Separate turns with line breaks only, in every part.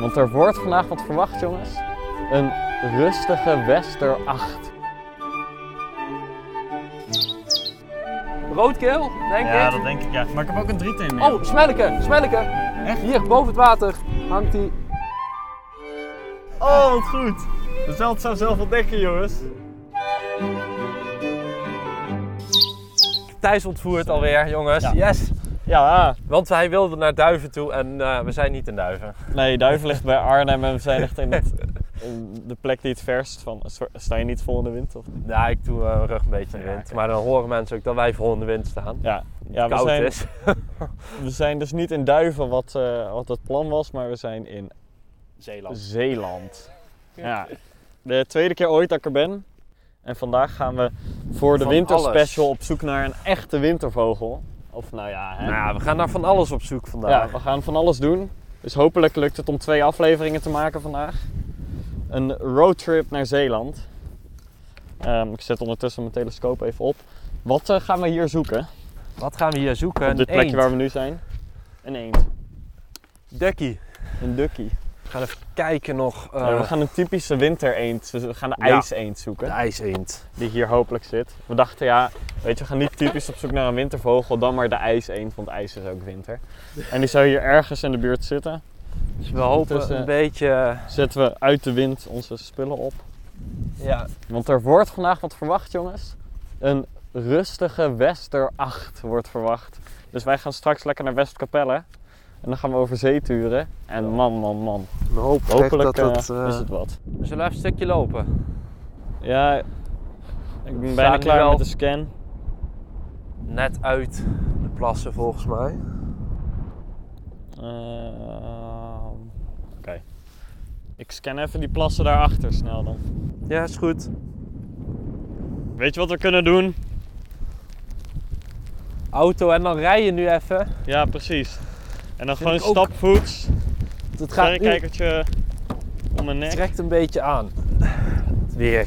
Want er wordt vandaag wat verwacht, jongens. Een rustige Wester 8. Roodkeel, denk
Ja,
ik.
dat denk ik ja. Maar ik heb ook een drieten mee.
Oh, smelleke, smelleke.
Echt?
Hier, boven het water hangt die.
oh wat goed. De zeld zou zelf ontdekken, jongens.
Thijs ontvoerd alweer, jongens.
Ja.
Yes.
Ja,
Want hij wilde naar Duiven toe en eh, we zijn niet in Duiven.
nee, Duiven ligt bij Arnhem en we zijn echt in, het, in de plek die het verst van. Sta je niet vol in de wind? Of?
Ja, ik doe eh, mijn rug een beetje in de
Ja,
wind.
oké.
Maar dan horen mensen ook dat wij vol in de wind staan.
Ja, ja we,
Koud
zijn,
is.
we zijn dus niet in Duiven wat, eh, wat het plan was, maar we zijn in
Zeeland.
Zeeland. Ja. De tweede keer ooit dat ik er ben. En vandaag gaan we voor de
Van
winterspecial
alles.
op zoek naar een echte wintervogel. Of nou ja, hè.
Nou, ja, we gaan naar van alles op zoek
Ja,
vandaag.
we gaan van alles doen. Dus hopelijk lukt het om twee afleveringen te maken vandaag. Een roadtrip naar Zeeland. Ehm, ik zet ondertussen mijn telescoop even op. Wat eh, gaan we hier zoeken?
Wat gaan we hier zoeken?
op dit plekje waar we nu zijn. Een eend.
Dekkie.
Een dukkie.
We gaan even kijken nog. eh
Ja, we gaan een typische wintereend. Dus we gaan de
ja.
ijseend
De
zoeken.
ijseend.
die hier hopelijk zit. We dachten, ja, weet je, we gaan niet typisch op zoek naar een wintervogel, dan maar de ijseend, want ijs is ook winter. En die zou hier ergens in de buurt zitten.
Dus we hopen
Dus, eh,
een beetje... eh,
Zetten we uit de wind onze spullen op.
Ja,
Want er wordt vandaag wat verwacht, jongens. Een rustige Wester 8 wordt verwacht.
Dus wij gaan straks lekker naar Westkapelle. En dan gaan we over zee turen. En man, man, man. Hopelijk eh, is het wat.
we zullen even een stukje lopen.
Ja, ik ben bijna
staan nu
klaar
wel.
met de scan.
Net uit de plassen volgens mij.
Ehm, Oké. Ik scan even die plassen daarachter snel dan.
Ja, is goed.
Weet je wat we kunnen doen?
Auto en dan rij je nu even.
Ja, precies. En dan gewoon
ik ook.
stapvoets.
Want Het gaat nu
Verrekijkertje om mijn nek.
trekt een beetje aan. Weer.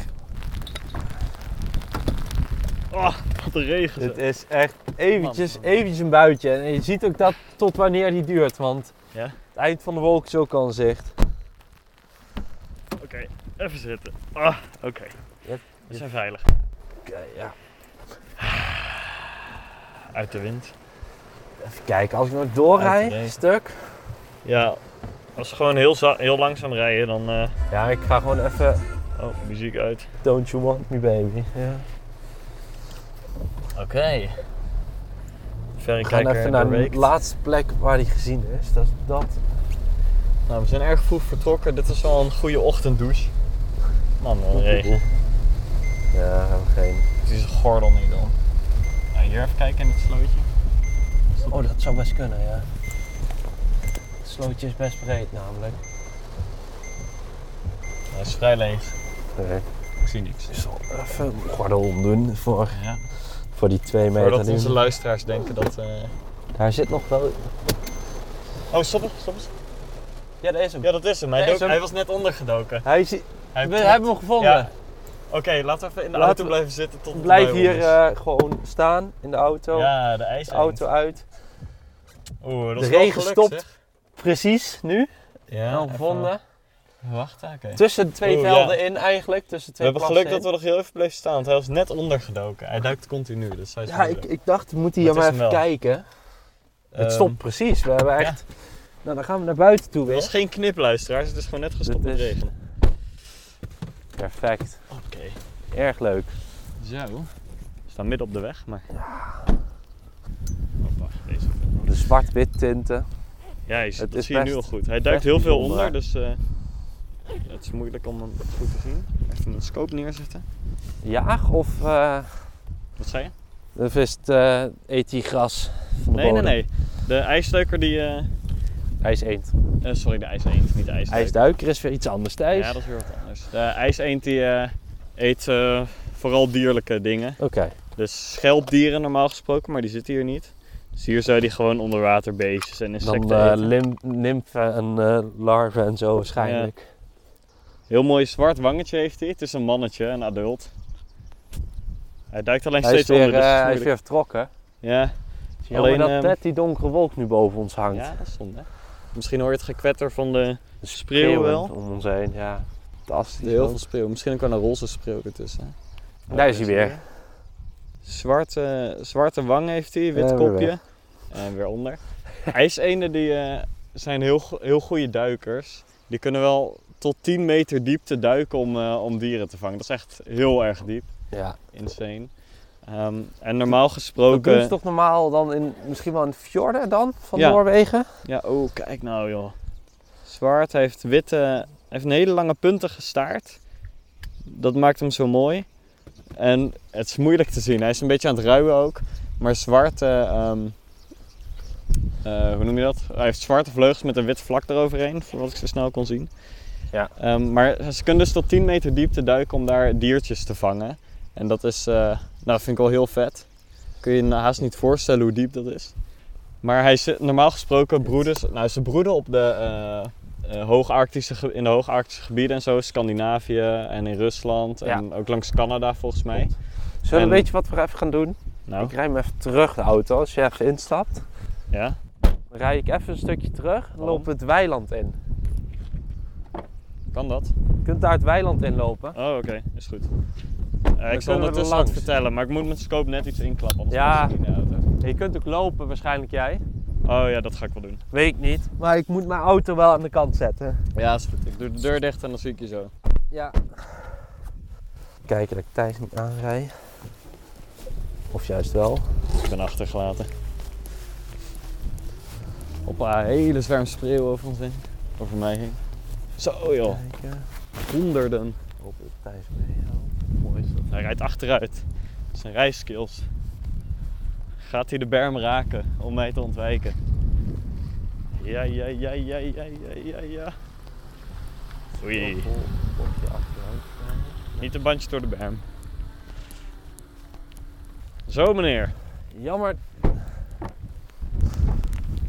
Oh, wat een regen.
Dit
zeg.
is echt eventjes,
Man, man.
eventjes een buitje. En je ziet ook dat tot wanneer die duurt. Want
Ja.
het eind van de wolk is ook al in zicht.
Oké, even zitten. Ah, Oké,
Yep.
we zijn veilig.
Oké, ja.
Uit de wind.
Even kijken, als ik nou doorrij,
Uit de regen.
stuk.
Ja, als we gewoon heel, za- heel langzaam rijden, dan... eh,
Ja, ik ga gewoon even.
Oh, muziek uit.
Don't you want me, baby? Ja.
Oké.
We gaan
Verrekijker
even naar de
doorweekt.
laatste plek waar die gezien is. Dat is dat.
Nou, we zijn erg vroeg vertrokken. Dit is wel een goede ochtenddouche. Man, wat een regen.
Ja, we hebben geen.
Het is een gordel niet dan. Nou, hier even kijken in het slootje.
Oh, dat zou best kunnen, ja. Het slootje is best breed namelijk.
Hij is vrij leeg.
Nee.
Ik zie niks.
Ik zal even een gordel omdoen voor,
Ja.
voor die twee meter.
Voordat
die-
onze luisteraars denken dat. eh,
Daar zit nog wel...
Oh, stop eens, stop eens.
Ja, daar is hem.
Ja, dat is hem. Hij,
Nee,
dook-
is hem.
hij was net ondergedoken.
Hij is...
Hij
We hebben hem gevonden.
Ja. Oké, laten we even in de
Laten
auto
we-
blijven zitten tot het
Blijf
bij
hier
ons is.
eh, gewoon staan in de auto.
ja, de
De
ijs.
auto uit.
Oeh, dat
De
is wel
regen
gelukt,
stopt.
zeg.
Precies, nu.
Ja,
Wel
even
gevonden.
Wachten, oké.
Tussen de twee
Oeh,
velden in eigenlijk. Tussen de
We
twee
hebben geluk dat
plassen
we nog heel even bleven staan, want hij was net ondergedoken. Hij duikt continu, dus hij is
in. Ja, ik,
moeilijk.
ik dacht, we moeten hier
Maar het
maar
is
even
hem
kijken. het
Ehm,
stopt precies. We hebben echt... Nou, dan gaan we naar buiten toe
Er was
weer.
geen knip, luisteraars. Het is gewoon net gestopt
Dit
met
is-
regen.
Perfect.
Oké.
Erg leuk.
Zo. We staan midden op de weg, maar... Hoppa, deze
De zwart-wit tinten.
Ja, je,
Het
dat
is
zie je nu
best-
al goed. Hij duikt
best
heel veel
bijzonder.
onder, dus eh, ja, het is moeilijk om hem goed te zien. Even mijn scope neerzetten.
Jaag of... eh,
Wat zei je?
Of is het, eh, eet die gras van de
Nee, nee,
bodem?
nee. De ijsduiker die... eh,
Hij is eend.
eh, sorry, de ijseend, niet de ijsduiker.
IJsduiker is weer iets anders, Thijs.
Ja, dat is weer wat anders. De ijseend die eh, eet eh, vooral dierlijke dingen.
Oké.
Dus schelpdieren normaal gesproken, maar die zitten hier niet. Dus hier zou die gewoon onderwaterbeestjes en insecten
Dan eh
eten.
lim- nimfen en eh, larven en zo waarschijnlijk.
Heel mooi zwart wangetje heeft hij. Het is een mannetje, een adult. Hij duikt alleen
Hij, is
steeds
weer,
onder, dus het is
eh, hij is
moeilijk.
weer vertrokken.
Ja.
Alleen
Alleen,
dat
ehm,
net die donkere wolk nu boven ons hangt.
Ja, dat is zonde. Misschien hoor je het gekwetter van de
Een
spreeuw wel.
om ons heen, ja. Fantastisch.
heel
man.
veel spreeuw. Misschien ook wel een roze spreeuw ertussen.
Daar is hij weer.
Zwarte, zwarte wang heeft hij, wit
En weer
kopje. En weer onder. IJsenden die, eh, zijn heel, go- heel goede duikers. Die kunnen wel tot 10 meter diepte duiken om, eh, om dieren te vangen. Dat is echt heel erg diep.
Ja.
Insane. Ehm, en normaal
Dat doen ze
gesproken...
toch normaal dan in, misschien wel in fjorden dan, van
eh, Ja.
Noorwegen?
Ja, oh, kijk nou joh. Zwart hij heeft witte, heeft een hele lange puntige staart. Dat maakt hem zo mooi. En het is moeilijk te zien. Hij is een beetje aan het ruien ook. Maar zwart, eh, ehm, eh, hoe noem je dat? Hij heeft zwarte vleugels met een wit vlak eroverheen, voor wat ik zo snel kon zien.
Ja.
Ehm, maar ze kunnen dus tot 10 meter diepte duiken om daar diertjes te vangen. En dat is, eh, nou, dat vind ik wel heel vet. Kun je je haast niet voorstellen hoe diep dat is. Maar hij zit normaal gesproken broeders, nou ze broeden op de eh, eh, hoogarctische, ge- in de hoogarctische gebieden en zo, Scandinavië en in Rusland en ook langs Canada volgens mij.
Zullen
En-
we weet je wat we even gaan doen?
Nou,
Ik rij hem even terug de auto als je even instapt.
ja.
Dan rij ik even een stukje terug en
Waarom?
lopen we het weiland in.
Kan dat?
Je kunt daar het weiland in lopen.
Oh, oké, is goed. Eh, ik
kunnen we
zal
er
ondertussen wat
langs.
vertellen, maar ik moet mijn scope net iets inklappen, anders
Ja.
past het niet in de auto.
Je kunt ook lopen waarschijnlijk jij.
Oh ja, dat ga ik wel doen.
Weet ik niet. Maar ik moet mijn auto wel aan de kant zetten.
Ja, is goed. Ik doe de deur dicht en dan zie ik je zo.
Ja. Kijken dat ik Thijs niet aanrij. Of juist wel.
Ik ben achtergelaten. Op een hele zwerm spreeuwen over ons heen. Over mij heen. Zo joh,
Kijken.
honderden.
Hoop dat Thijs meehelpt. Mooi is dat.
Hij rijdt achteruit. Dat zijn rijskills. Gaat hij de berm raken om mij te ontwijken? Ja, ja, ja, ja, ja, ja, ja, ja. Oei,
Heel vol kopje achteruit.
niet een bandje door de berm. Zo meneer.
Jammer.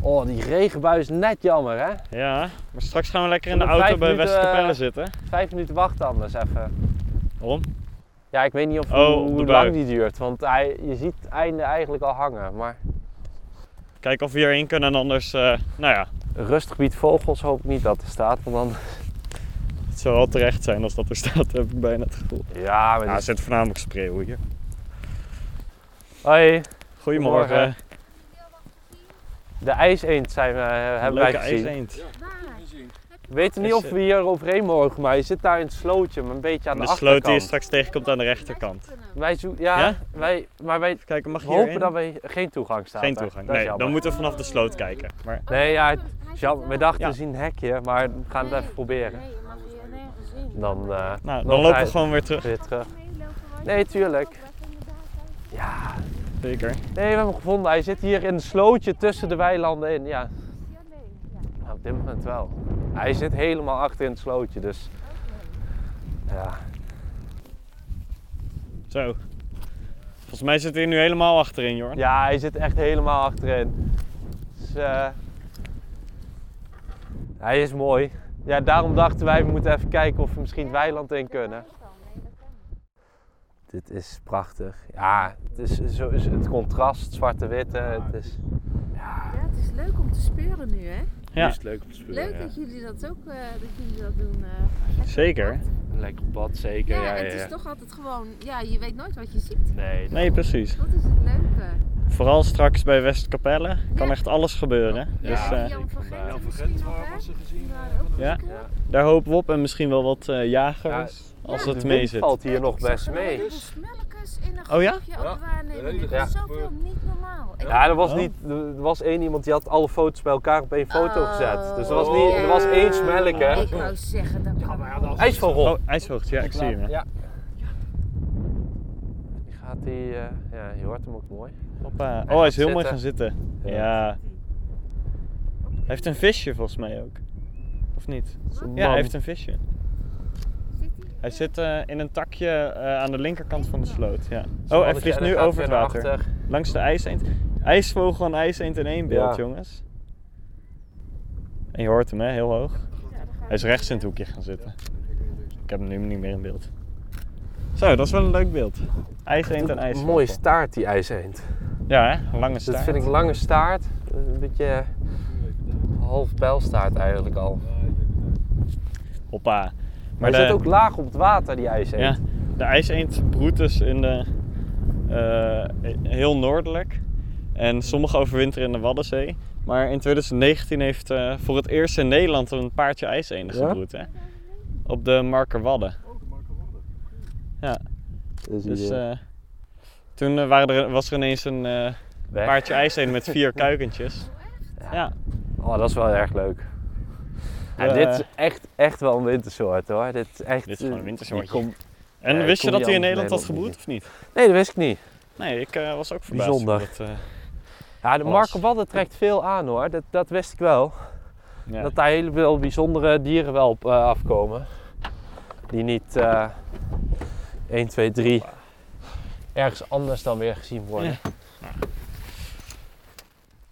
Oh, die regenbui is net jammer, hè?
Ja, maar straks gaan we lekker in de
Nog vijf
auto bij
minuten,
Westerkapelle
eh,
zitten.
Vijf minuten wachten anders even.
Waarom?
Ja, ik weet niet of,
Oh, op de
hoe
bui.
lang die duurt, want hij, je ziet het einde eigenlijk al hangen. Maar
Kijken of we hierheen kunnen en anders, eh, nou ja,
een rustig gebied vogels hoop ik niet dat er staat, want dan...
het zou wel terecht zijn als dat er staat, heb ik bijna het gevoel.
Ja,
Ja,
maar die-
er zitten voornamelijk spreeuwen hier.
Hoi,
Goedemorgen.
de ijseend zijn we, eh, hebben wij
Leuke
gezien.
ijseend.
We weten niet
Is, eh,
of we hier overheen mogen, maar je zit daar in het slootje, maar een beetje aan de,
de sloot
achterkant.
die je straks tegenkomt aan de rechterkant.
Wij zoeken, ja,
Ja?
Wij, maar wij
Even kijken, mag je
hopen
hierin?
dat we geen toegang staan.
Geen toegang.
Dat is
Nee,
jammer.
dan moeten we vanaf de sloot kijken. Maar
Nee, ja, het is jammer. we dachten
Ja.
we zien een hekje, maar we gaan het even proberen.
Nee, je mag hier nergens zien.
Dan eh
nou,
Nog
dan lopen we
uit.
gewoon weer terug.
weer terug.
Meelopen waar je
Nee, tuurlijk.
ook weg inderdaad uit.
Ja,
Zeker.
nee, we hebben hem gevonden. Hij zit hier in een slootje tussen de weilanden in. Ja,
Ja, nee. Ja.
nou, op dit moment wel. Hij zit helemaal achter in het slootje, dus... Ja,
Zo. Volgens mij zit hij nu helemaal achterin, Jorn.
ja hij zit echt helemaal achterin. Dus, eh, Hij is mooi. Ja, daarom dachten wij, we moeten even kijken of we misschien het weiland in kunnen.
Nee, dat kan niet.
Dit is prachtig. Ja, het, is zo, is het contrast, zwarte-witte. Het is...
Ja, het is leuk om te speuren nu, hè?
Ja,
leuk om te spelen.
Leuk dat jullie dat ook eh, dat jullie dat doen. eh, lekker
Zeker.
op pad.
Lekker op pad, zeker.
Ja,
Ja, ja,
het is
ja.
toch altijd gewoon, ja, je weet nooit wat je ziet.
Nee,
nee, precies.
Dat is het leuke.
Vooral straks bij Westkapelle kan
Ja.
echt alles gebeuren.
Ja,
Dus eh,
Jan van Gent misschien nog, hè? Die waren ook
Ja.
goed.
daar hopen we op. En misschien wel wat eh, jagers, als
Ja.
het
de
mee
wind
zit.
valt hier
Ik
nog
zag
best
er
mee.
allemaal smelkers dus in een
Oh ja?
groepje op de waarneming.
Ja.
Dat is zoveel niet normaal. Ik-
Ja, er was,
Oh.
niet, er was één iemand die had alle foto's bij elkaar op één foto
Oh.
gezet. Dus er was, niet, er was één smelker.
Ik wou zeggen, dat kan wel.
IJsvogel.
Oh, ijshoogte. Ja, ik zie hem. ja.
Ja. Die gaat die, eh, ja, je hoort hem ook mooi.
Hoppa.
Hij
Oh, hij is
gaat
heel mooi gaan zitten.
Ja.
Ja. Hij heeft een visje volgens mij ook. Of niet? Ja, hij heeft een visje.
Zit hij?
Hij zit eh, in een takje eh, aan de linkerkant van de sloot. Ja. Oh, hij
Mannetje,
vliegt
en hij
nu
gaat
over het
weer naar
water.
achter.
Langs de ijseend. IJsvogel en ijseend in één beeld,
Ja.
jongens. En je hoort hem, hè? Heel hoog. Hij is rechts in het hoekje gaan zitten. Ik heb hem nu niet meer in beeld. Zo, dat is wel een leuk beeld. IJseend en ijsvogel.
Mooie staart die ijs eend.
Ja, hè? Lange staart.
Dat vind ik een lange staart. Een beetje. eh, half pijlstaart eigenlijk al.
Hoppa. Maar,
Maar
de,
hij zit ook laag op het water, die ijsheet.
Ja, de ijseend broedt dus in de, eh, heel noordelijk. En sommige overwinteren in de Waddenzee. Maar in 2019 heeft eh, voor het eerst in Nederland een paardje ijseenden
Ja?
gebroed. Hè? Op de Markerwadden.
Dus, die,
Dus
eh,
eh, toen eh, waren er, was er ineens een eh,
weg.
paardje ijseenden met vier kuikentjes. Ja,
Oh, dat is wel erg leuk. En
Eh,
dit is echt, echt wel een wintersoort hoor. Dit is echt... eh,
Dit is gewoon een wintersoortje.
die komt-
En
Ja, ik
wist je
kom
dat
die
hij in Nederland
anders
had
Nederland
gebroed of niet?
Nee, dat wist ik niet.
Nee, ik eh, was ook verbaasd.
Bijzonder.
over dat, eh,
Ja, de
Alles.
Marco Wadden trekt veel aan hoor. Dat, dat wist ik wel.
ja.
Dat daar heel veel bijzondere dieren wel op eh, afkomen. Die niet eh 1, 2, 3 ergens anders dan weer gezien worden.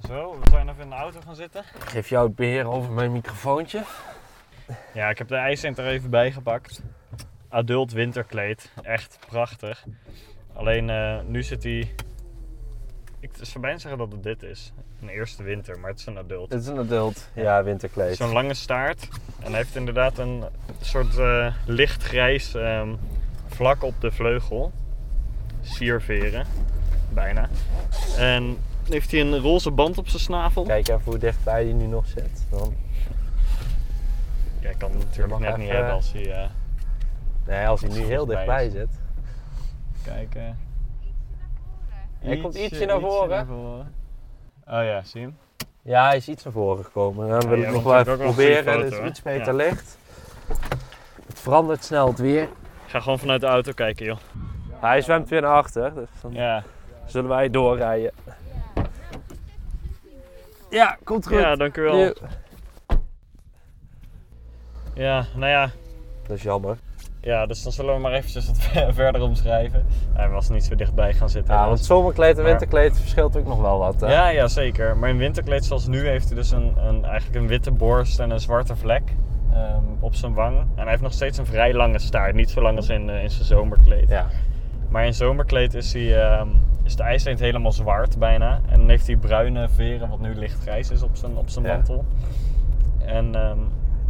Zo, we zijn even in de auto gaan zitten.
Ik geef jou het beheer over mijn microfoontje.
Ja, ik heb de ijscenter er even bij gepakt. Adult winterkleed. Echt prachtig. Alleen eh, nu zit hij. Ik zou bijna zeggen dat het dit is. Een eerste winter, maar het is een adult.
Dit is een adult. Ja, winterkleed.
Zo'n lange staart. En hij heeft inderdaad een soort eh, lichtgrijs ehm, vlak op de vleugel. Sierveren, bijna. En heeft hij een roze band op zijn snavel.
Kijk even hoe dichtbij die nu nog zit. Dan...
Ja, ik kan het
Je
natuurlijk
mag
net niet
even-
hebben als hij. eh,
Nee, als hij nu heel
Dichtbij
dichtbij
is.
zit.
Kijk. eh.
Hij komt ietsje naar voren.
voren. Oh ja, zie je hem?
Ja, hij is iets naar voren gekomen. Dan wil
ja,
ik nog
want
wel
het is
even
ook wel een goede
proberen. Er
foto,
is
hè?
iets beter
Ja.
licht. Het verandert snel het weer.
Ik ga gewoon vanuit de auto kijken, joh.
Hij zwemt weer naar achter, dus dan
Ja,
zullen wij doorrijden. Ja, komt goed.
ja dankjewel.
Joe.
Ja, nou ja.
Dat is jammer.
Ja, dus dan zullen we maar eventjes het ver- verder omschrijven. Hij was niet zo dichtbij gaan zitten.
Ja, want
helaas.
zomerkleed en
Maar-
winterkleed verschilt ook nog wel wat. Hè?
ja, ja, zeker. Maar in winterkleed zoals nu heeft hij dus een, een, eigenlijk een witte borst en een zwarte vlek ehm, op zijn wang. En hij heeft nog steeds een vrij lange staart. Niet zo lang als in, eh, in zijn zomerkleed.
Ja.
Maar in zomerkleed is, hij, ehm, is de ijsleend helemaal zwart bijna. En dan heeft hij bruine veren, wat nu lichtgrijs is op zijn, op zijn
Ja.
mantel. En ehm,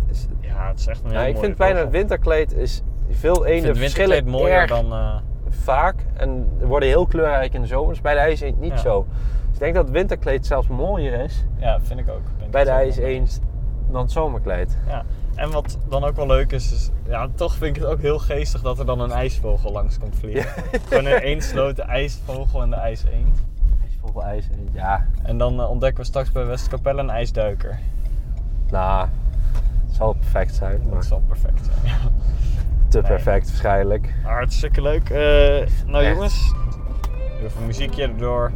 Is-
ja, het is echt een heel
Ja, ik
mooie
vind bijna
vogel.
het winterkleed is veel
Ik vind
eenden
het winterkleed
verschillen
mooier
erg
dan... eh,
vaak en worden heel kleurrijk in de zomer. Dus bij de ijseend niet
Ja.
zo. Dus ik denk dat het winterkleed zelfs mooier is
ja, vind ik ook. Ik denk
bij de
dat het wel-
ijseend dan het zomerkleed.
Ja. En wat dan ook wel leuk is, is... Ja, toch vind ik het ook heel geestig dat er dan een ijsvogel langs komt vliegen. Gewoon in één sloot de ijsvogel en de ijseend.
Ijsvogel ijseend, ja.
En dan eh, ontdekken we straks bij Westkapelle een ijsduiker.
Nou, het zal perfect zijn, maar
Dat zal perfect zijn.
te
nee.
perfect waarschijnlijk.
Hartstikke leuk. Eh, nou
Echt.
jongens, doe even een muziekje erdoor.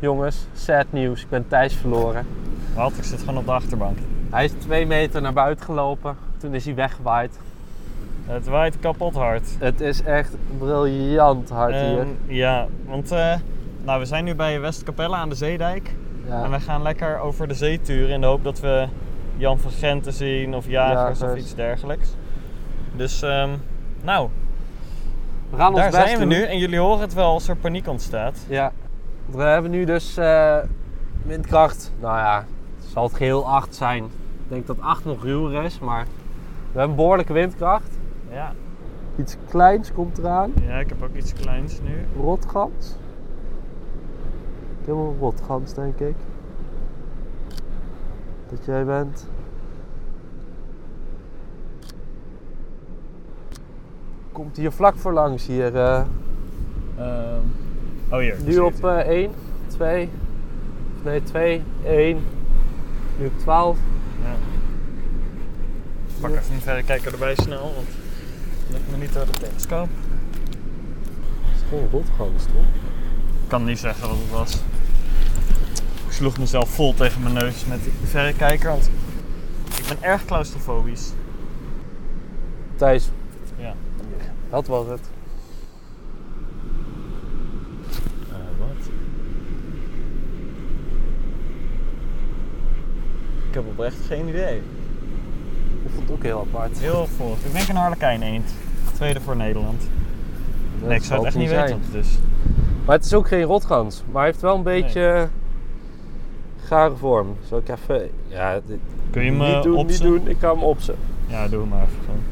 Jongens, sad nieuws. Ik ben Thijs verloren.
Wat? Ik zit gewoon op de achterbank.
Hij is twee meter naar buiten gelopen. Toen is hij weggewaaid.
Het waait kapot hard.
Het is echt briljant hard hier.
Ehm, ja, want eh, nou, we zijn nu bij Westkapelle aan de Zeedijk. En
Ja.
we gaan lekker over de zee turen in de hoop dat we Jan van Genten zien of jagers, of
Jagers.
iets dergelijks. Dus ehm, nou,
We gaan ons
daar
best
zijn we
doen.
nu. En jullie horen het wel als er paniek ontstaat.
Ja. We hebben nu dus eh, windkracht. Nou ja, het zal het geheel 8 zijn. Ik denk dat 8 nog ruwer is, maar we hebben behoorlijke windkracht.
Ja,
Iets kleins komt eraan.
ja ik heb ook iets kleins nu.
Rotgans. Ik heb wel een rotgans, denk ik. Dat jij bent. Komt hier vlak voor langs hier. eh,
Ehm, oh hier.
nu op eh, 1, 2, nee 2, 1. Nu op 12.
Ja. Pak even een verrekijker erbij snel, want het lukt me niet door de telescoop.
Dat is geen rotgans toch?
Ik kan niet zeggen wat het was. Ik sloeg mezelf vol tegen mijn neus met die verrekijker, want ik ben erg claustrofobisch.
Thijs.
Ja.
Dat was het.
Eh, wat? Ik heb oprecht geen idee.
Ik vond het ook heel apart.
Heel vol. Ik denk een harlekijn eend. Tweede voor Nederland. nee, ik zou het echt niet weten dus wat het is.
Maar het is ook geen rotgans. Maar hij heeft wel een beetje eh, gare vorm. Zal ik even... Ja, dit,
Kun je hem
niet
eh,
doen, niet
opzoeken?
doen. Ik ga hem opzetten.
Ja, doe hem maar even gewoon.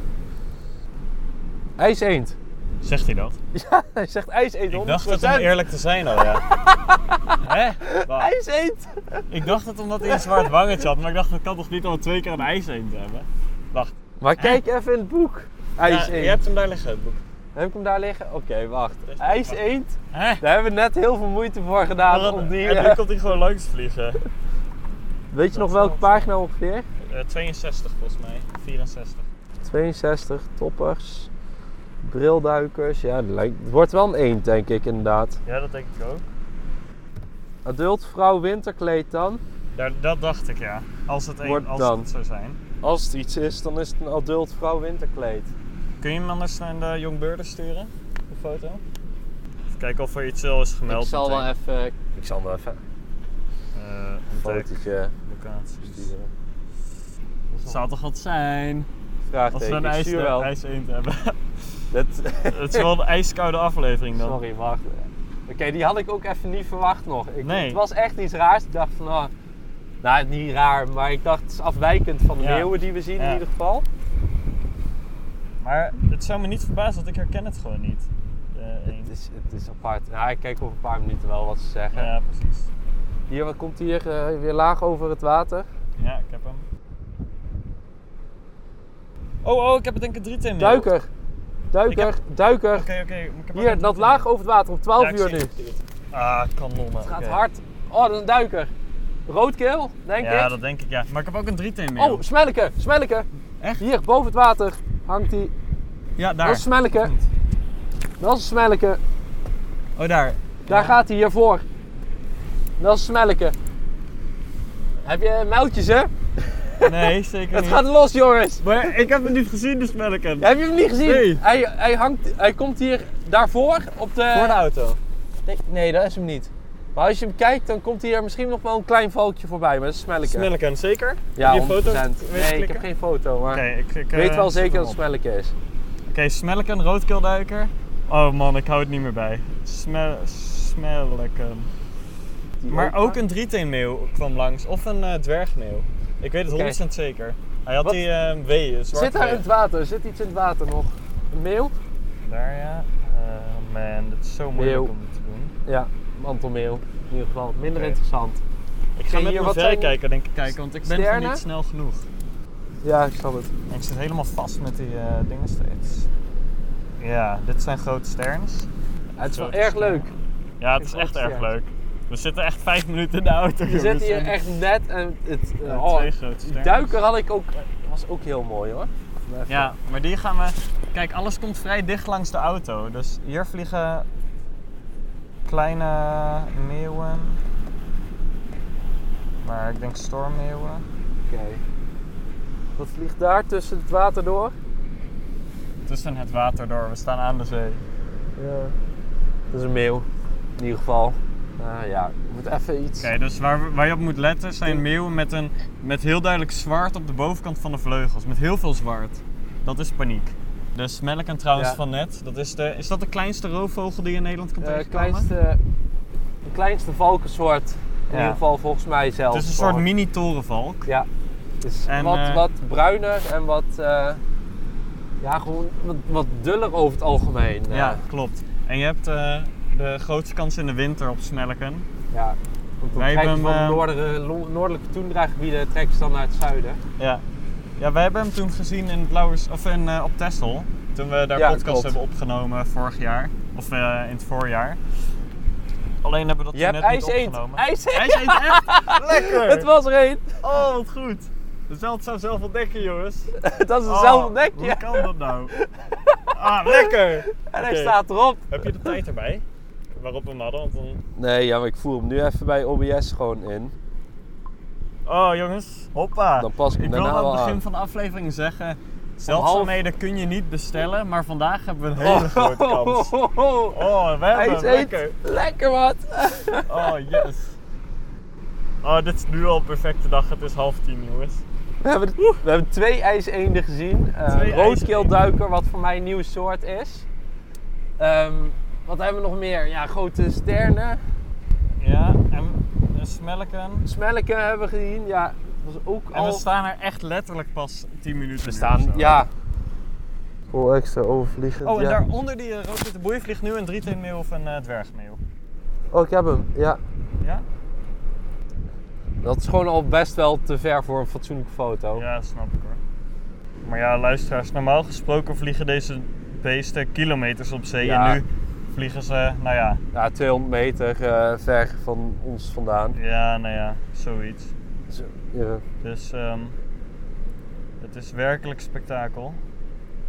IJseend.
Zegt hij dat?
Hij zegt ijseend 100%.
Ik dacht het om eerlijk te zijn al, ja. Hè? Wa-
IJseend.
Ik dacht het omdat hij een zwart wangetje had, maar ik dacht dat kan toch niet al twee keer een ijs te hebben? Wacht.
Maar kijk even in het boek. IJseend.
je hebt hem daar liggen, het boek.
Heb ik hem daar liggen? Oké, wacht.
is wel
IJseend.
Hè?
Daar hebben we net heel veel moeite voor gedaan
Maar
om
dat-
die...
En
eh,
nu komt hij gewoon langs vliegen.
Weet je nog welke pagina ongeveer?
Eh, 62 volgens mij. 64.
62, toppers, brilduikers. Ja, het lijkt- het wordt wel een eend, denk ik inderdaad.
Ja, dat denk ik ook.
Adult vrouw winterkleed dan.
Daar, dat dacht ik ja. Als het, een,
Wordt
als
dan.
het zou zijn.
Als het iets is, dan is het een adult vrouw winterkleed.
Kun je hem anders naar de Young Burger sturen? De foto? Even kijken of er iets wel is gemeld.
Ik zal wel
meteen.
even
Ik zal hem even
Eh,
een
ontdek,
fotootje
locatie.
sturen.
Het zou toch wat zijn? Als we een
Vraagteken, ik
ijs,
stuur wel.
ijseend hebben.
Dit-
het is wel een ijskoude aflevering dan.
Sorry, wacht. Oké, die had ik ook even niet verwacht nog. Ik,
Nee.
Het was echt iets raars. Ik dacht van, ah, nou niet raar, maar ik dacht het is afwijkend van de
Ja.
meeuwen die we zien in
Ja.
ieder geval.
Maar het zou me niet verbazen, want ik herken het gewoon niet. De eend.
Het is, het is apart. Ja, ik kijk over een paar minuten wel wat ze zeggen.
Ja, precies.
Hier, wat komt hier eh, weer laag over het water?
Ja, ik heb hem. Oh, oh, ik heb het denk ik drie in
Duiker! Duiker! Duiker!
Oké, oké. maar ik heb ook
Hier,
een driet
dat
in
laag over het water om 12
beeld. Ja,
uur
ik zie
nu. Het
hem. Ah, kanonnen. Het
gaat hard. Oh, dat is een duiker. Roodkeel, denk
Ja,
ik.
dat denk ik ja. Maar ik heb ook een driet in
Oh, smelleke, smelleke.
Echt?
Hier, boven het water hangt die.
ja, daar.
Dat is een smelleke. Dat is een smelleke.
Oh, daar.
Daar gaat hij hiervoor. Dat is een smelleke. Heb je muiltjes, hè?
Nee, zeker
Het
niet.
gaat los, jongens.
Maar ik heb hem niet gezien, dus melken.
Heb je hem niet gezien?
Nee.
Hij, hij, hangt, hij komt hier daarvoor op de...
Voor de auto.
Nee, nee, dat is hem niet. Maar als je hem kijkt, dan komt hier misschien nog wel een klein valkje voorbij. Maar dat is Smelleke.
Melken, zeker? Oké,
ja,
Heb je foto
100%.
weten
Nee, ik
klikken?
heb geen foto, maar
ik, ik
ik weet
eh,
wel
zoek
zeker
hem
dat het
op.
Smelleke is.
Oké, Smelken, roodkeelduiker. Oh man, ik hou het niet meer bij. Smel smelken.
Die
Maar ook een drieteenmeeuw kwam langs, of een eh, dwergmeeuw. Ik weet het 100% zeker. Hij had
Wat?
die eh wee, een zwart
Zit daar
wee.
in het water? Zit iets in het water nog? Een meeuw?
Daar ja. Eh, man, dat is zo moeilijk
Meeuw.
om dit te doen.
Ja, mantelmeeuw. In ieder geval minder
Oké.
interessant.
Ik ga
hier,
met mijn
wat zijn-
verrekijker denk ik kijken, want ik ben gewoon
Sterren?
niet snel genoeg.
Ja, ik snap het.
En ik zit helemaal vast met die eh, dingen steeds. Ja, dit zijn grote sterns.
het is wel
Grote
erg
sterren.
leuk.
Ja, het is
Geen
echt
grote
erg leuk.
sterren.
We zitten echt vijf minuten in de auto.
Je zit
jongens,
hier
en-
echt net en het...
Ja,
oh,
twee grote sterren.
duiker had ik ook... was ook heel mooi hoor. Even-
Ja, maar die gaan we. Kijk, alles komt vrij dicht langs de auto. Dus hier vliegen kleine meeuwen. Maar ik denk stormmeeuwen.
Oké. Wat vliegt daar tussen het water door?
Tussen het water door, we staan aan de zee.
Ja. Dat is een meeuw, in ieder geval. Eh, ja, ik moet even iets. eh,
Oké, dus waar, we- waar je op moet letten zijn meeuwen met, een, met heel duidelijk zwart op de bovenkant van de vleugels. Met heel veel zwart. Dat is paniek. De smelken trouwens
Ja.
van net, dat is, de, is dat de kleinste roofvogel die je in Nederland kan
Eh,
tegenkomen?
kleinste, de kleinste valkensoort, in
Ja.
ieder geval volgens mij zelf.
Het is een soort
Gewoon.
mini-torenvalk.
Ja. Het is
En,
wat,
eh,
wat bruiner en wat. eh, ja, gewoon wat, wat duller over het algemeen. eh.
Ja, klopt. En je hebt eh, de grootste kans in de winter op smelken.
ja. Want dan
Wij
trekken
hebben
van
hem, eh,
noordere, lo- noordelijke toendragebieden trekken ze dan naar het zuiden.
Ja. Ja, wij hebben hem toen gezien in Blauwers, of in, eh, op Texel. Toen we daar
Ja,
podcast
klopt.
hebben opgenomen vorig jaar. Of eh, in het voorjaar. Alleen hebben we dat
Je
toen
hebt
net niet
ijs eend.
opgenomen.
Ijs eend.
Hij is echt lekker!
Het was er één.
Oh, wat goed! De zeld zou zelf ontdekken, jongens.
Dat is
Oh,
hetzelfde nekje.
Hoe kan dat nou? Ah, lekker!
En hij
Oké.
staat erop.
Heb je de tijd erbij? Waarop we hem hadden, want dan...
Nee, ja, maar ik voer hem nu even bij OBS gewoon in.
Oh jongens, hoppa.
Dan pas ik hem
ik wil
daarna
aan het
wel
begin
aan.
van de aflevering zeggen, zeldzaamheden kun je niet bestellen, maar vandaag hebben we een hele grote kans. Oh, we
Hij
hebben
is
hem,
eet.
lekker.
Lekker wat.
Oh yes. Oh, dit is nu al een perfecte dag. Het is half tien jongens.
We hebben, we hebben twee ijseenden gezien. Eh,
Twee
roodkeelduiker, wat voor mij een nieuw soort is. Ehm, Wat hebben we nog meer? Ja, grote sternen.
Ja, en een smelken.
Smelken hebben we gezien. Ja, dat was ook
En we
al...
staan er echt letterlijk pas 10 minuten
We
nu
staan-
of zo.
ja.
Vol extra overvliegend.
Oh, en
ja.
daaronder die eh, roodwitte boei vliegt nu een drieteenmeeuw of een eh dwergmeeuw.
Oh, ik heb hem. Ja.
Ja?
Dat is gewoon al best wel te ver voor een fatsoenlijke foto.
Ja, dat snap ik hoor. Maar ja, luisteraars, normaal gesproken vliegen deze beesten kilometers op zee. En
Ja.
nu vliegen ze, nou ja,
Ja, 200 meter eh, ver van ons vandaan.
ja, nou ja, zoiets.
Zo, ja.
Dus ehm, het is werkelijk spektakel.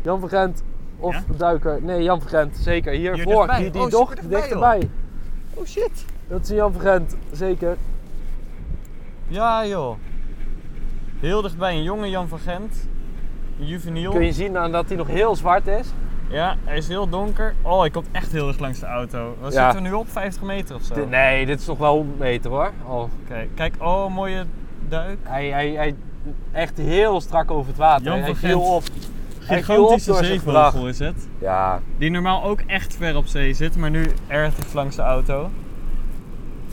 Jan van Gent of
Ja?
duiker. Nee, Jan van Gent. Zeker hiervoor.
dichtbij.
Die, die
Oh,
doch-
super
dichterbij.
dichtbij, Oh shit!
Dat is een Jan van Gent. Zeker.
Ja joh. Heel dichtbij een jonge Jan van Gent. Een juveniel.
Kun je zien aan dat hij nog heel zwart is.
Ja, hij is heel donker. Oh, hij komt echt heel erg langs de auto. Waar
Ja.
zitten we nu op? 50 meter of zo?
Dit- nee, dit is nog wel 100 meter hoor. Al.
Oké, Kijk, oh mooie duik.
Hij, hij, hij echt heel strak over het water.
Jan
hij
van
viel
Gent.
op. Hij viel op door
Gigantische
zijn
zeevogel
gedrag.
is het.
Ja,
Die normaal ook echt ver op zee zit, maar nu erg langs de auto.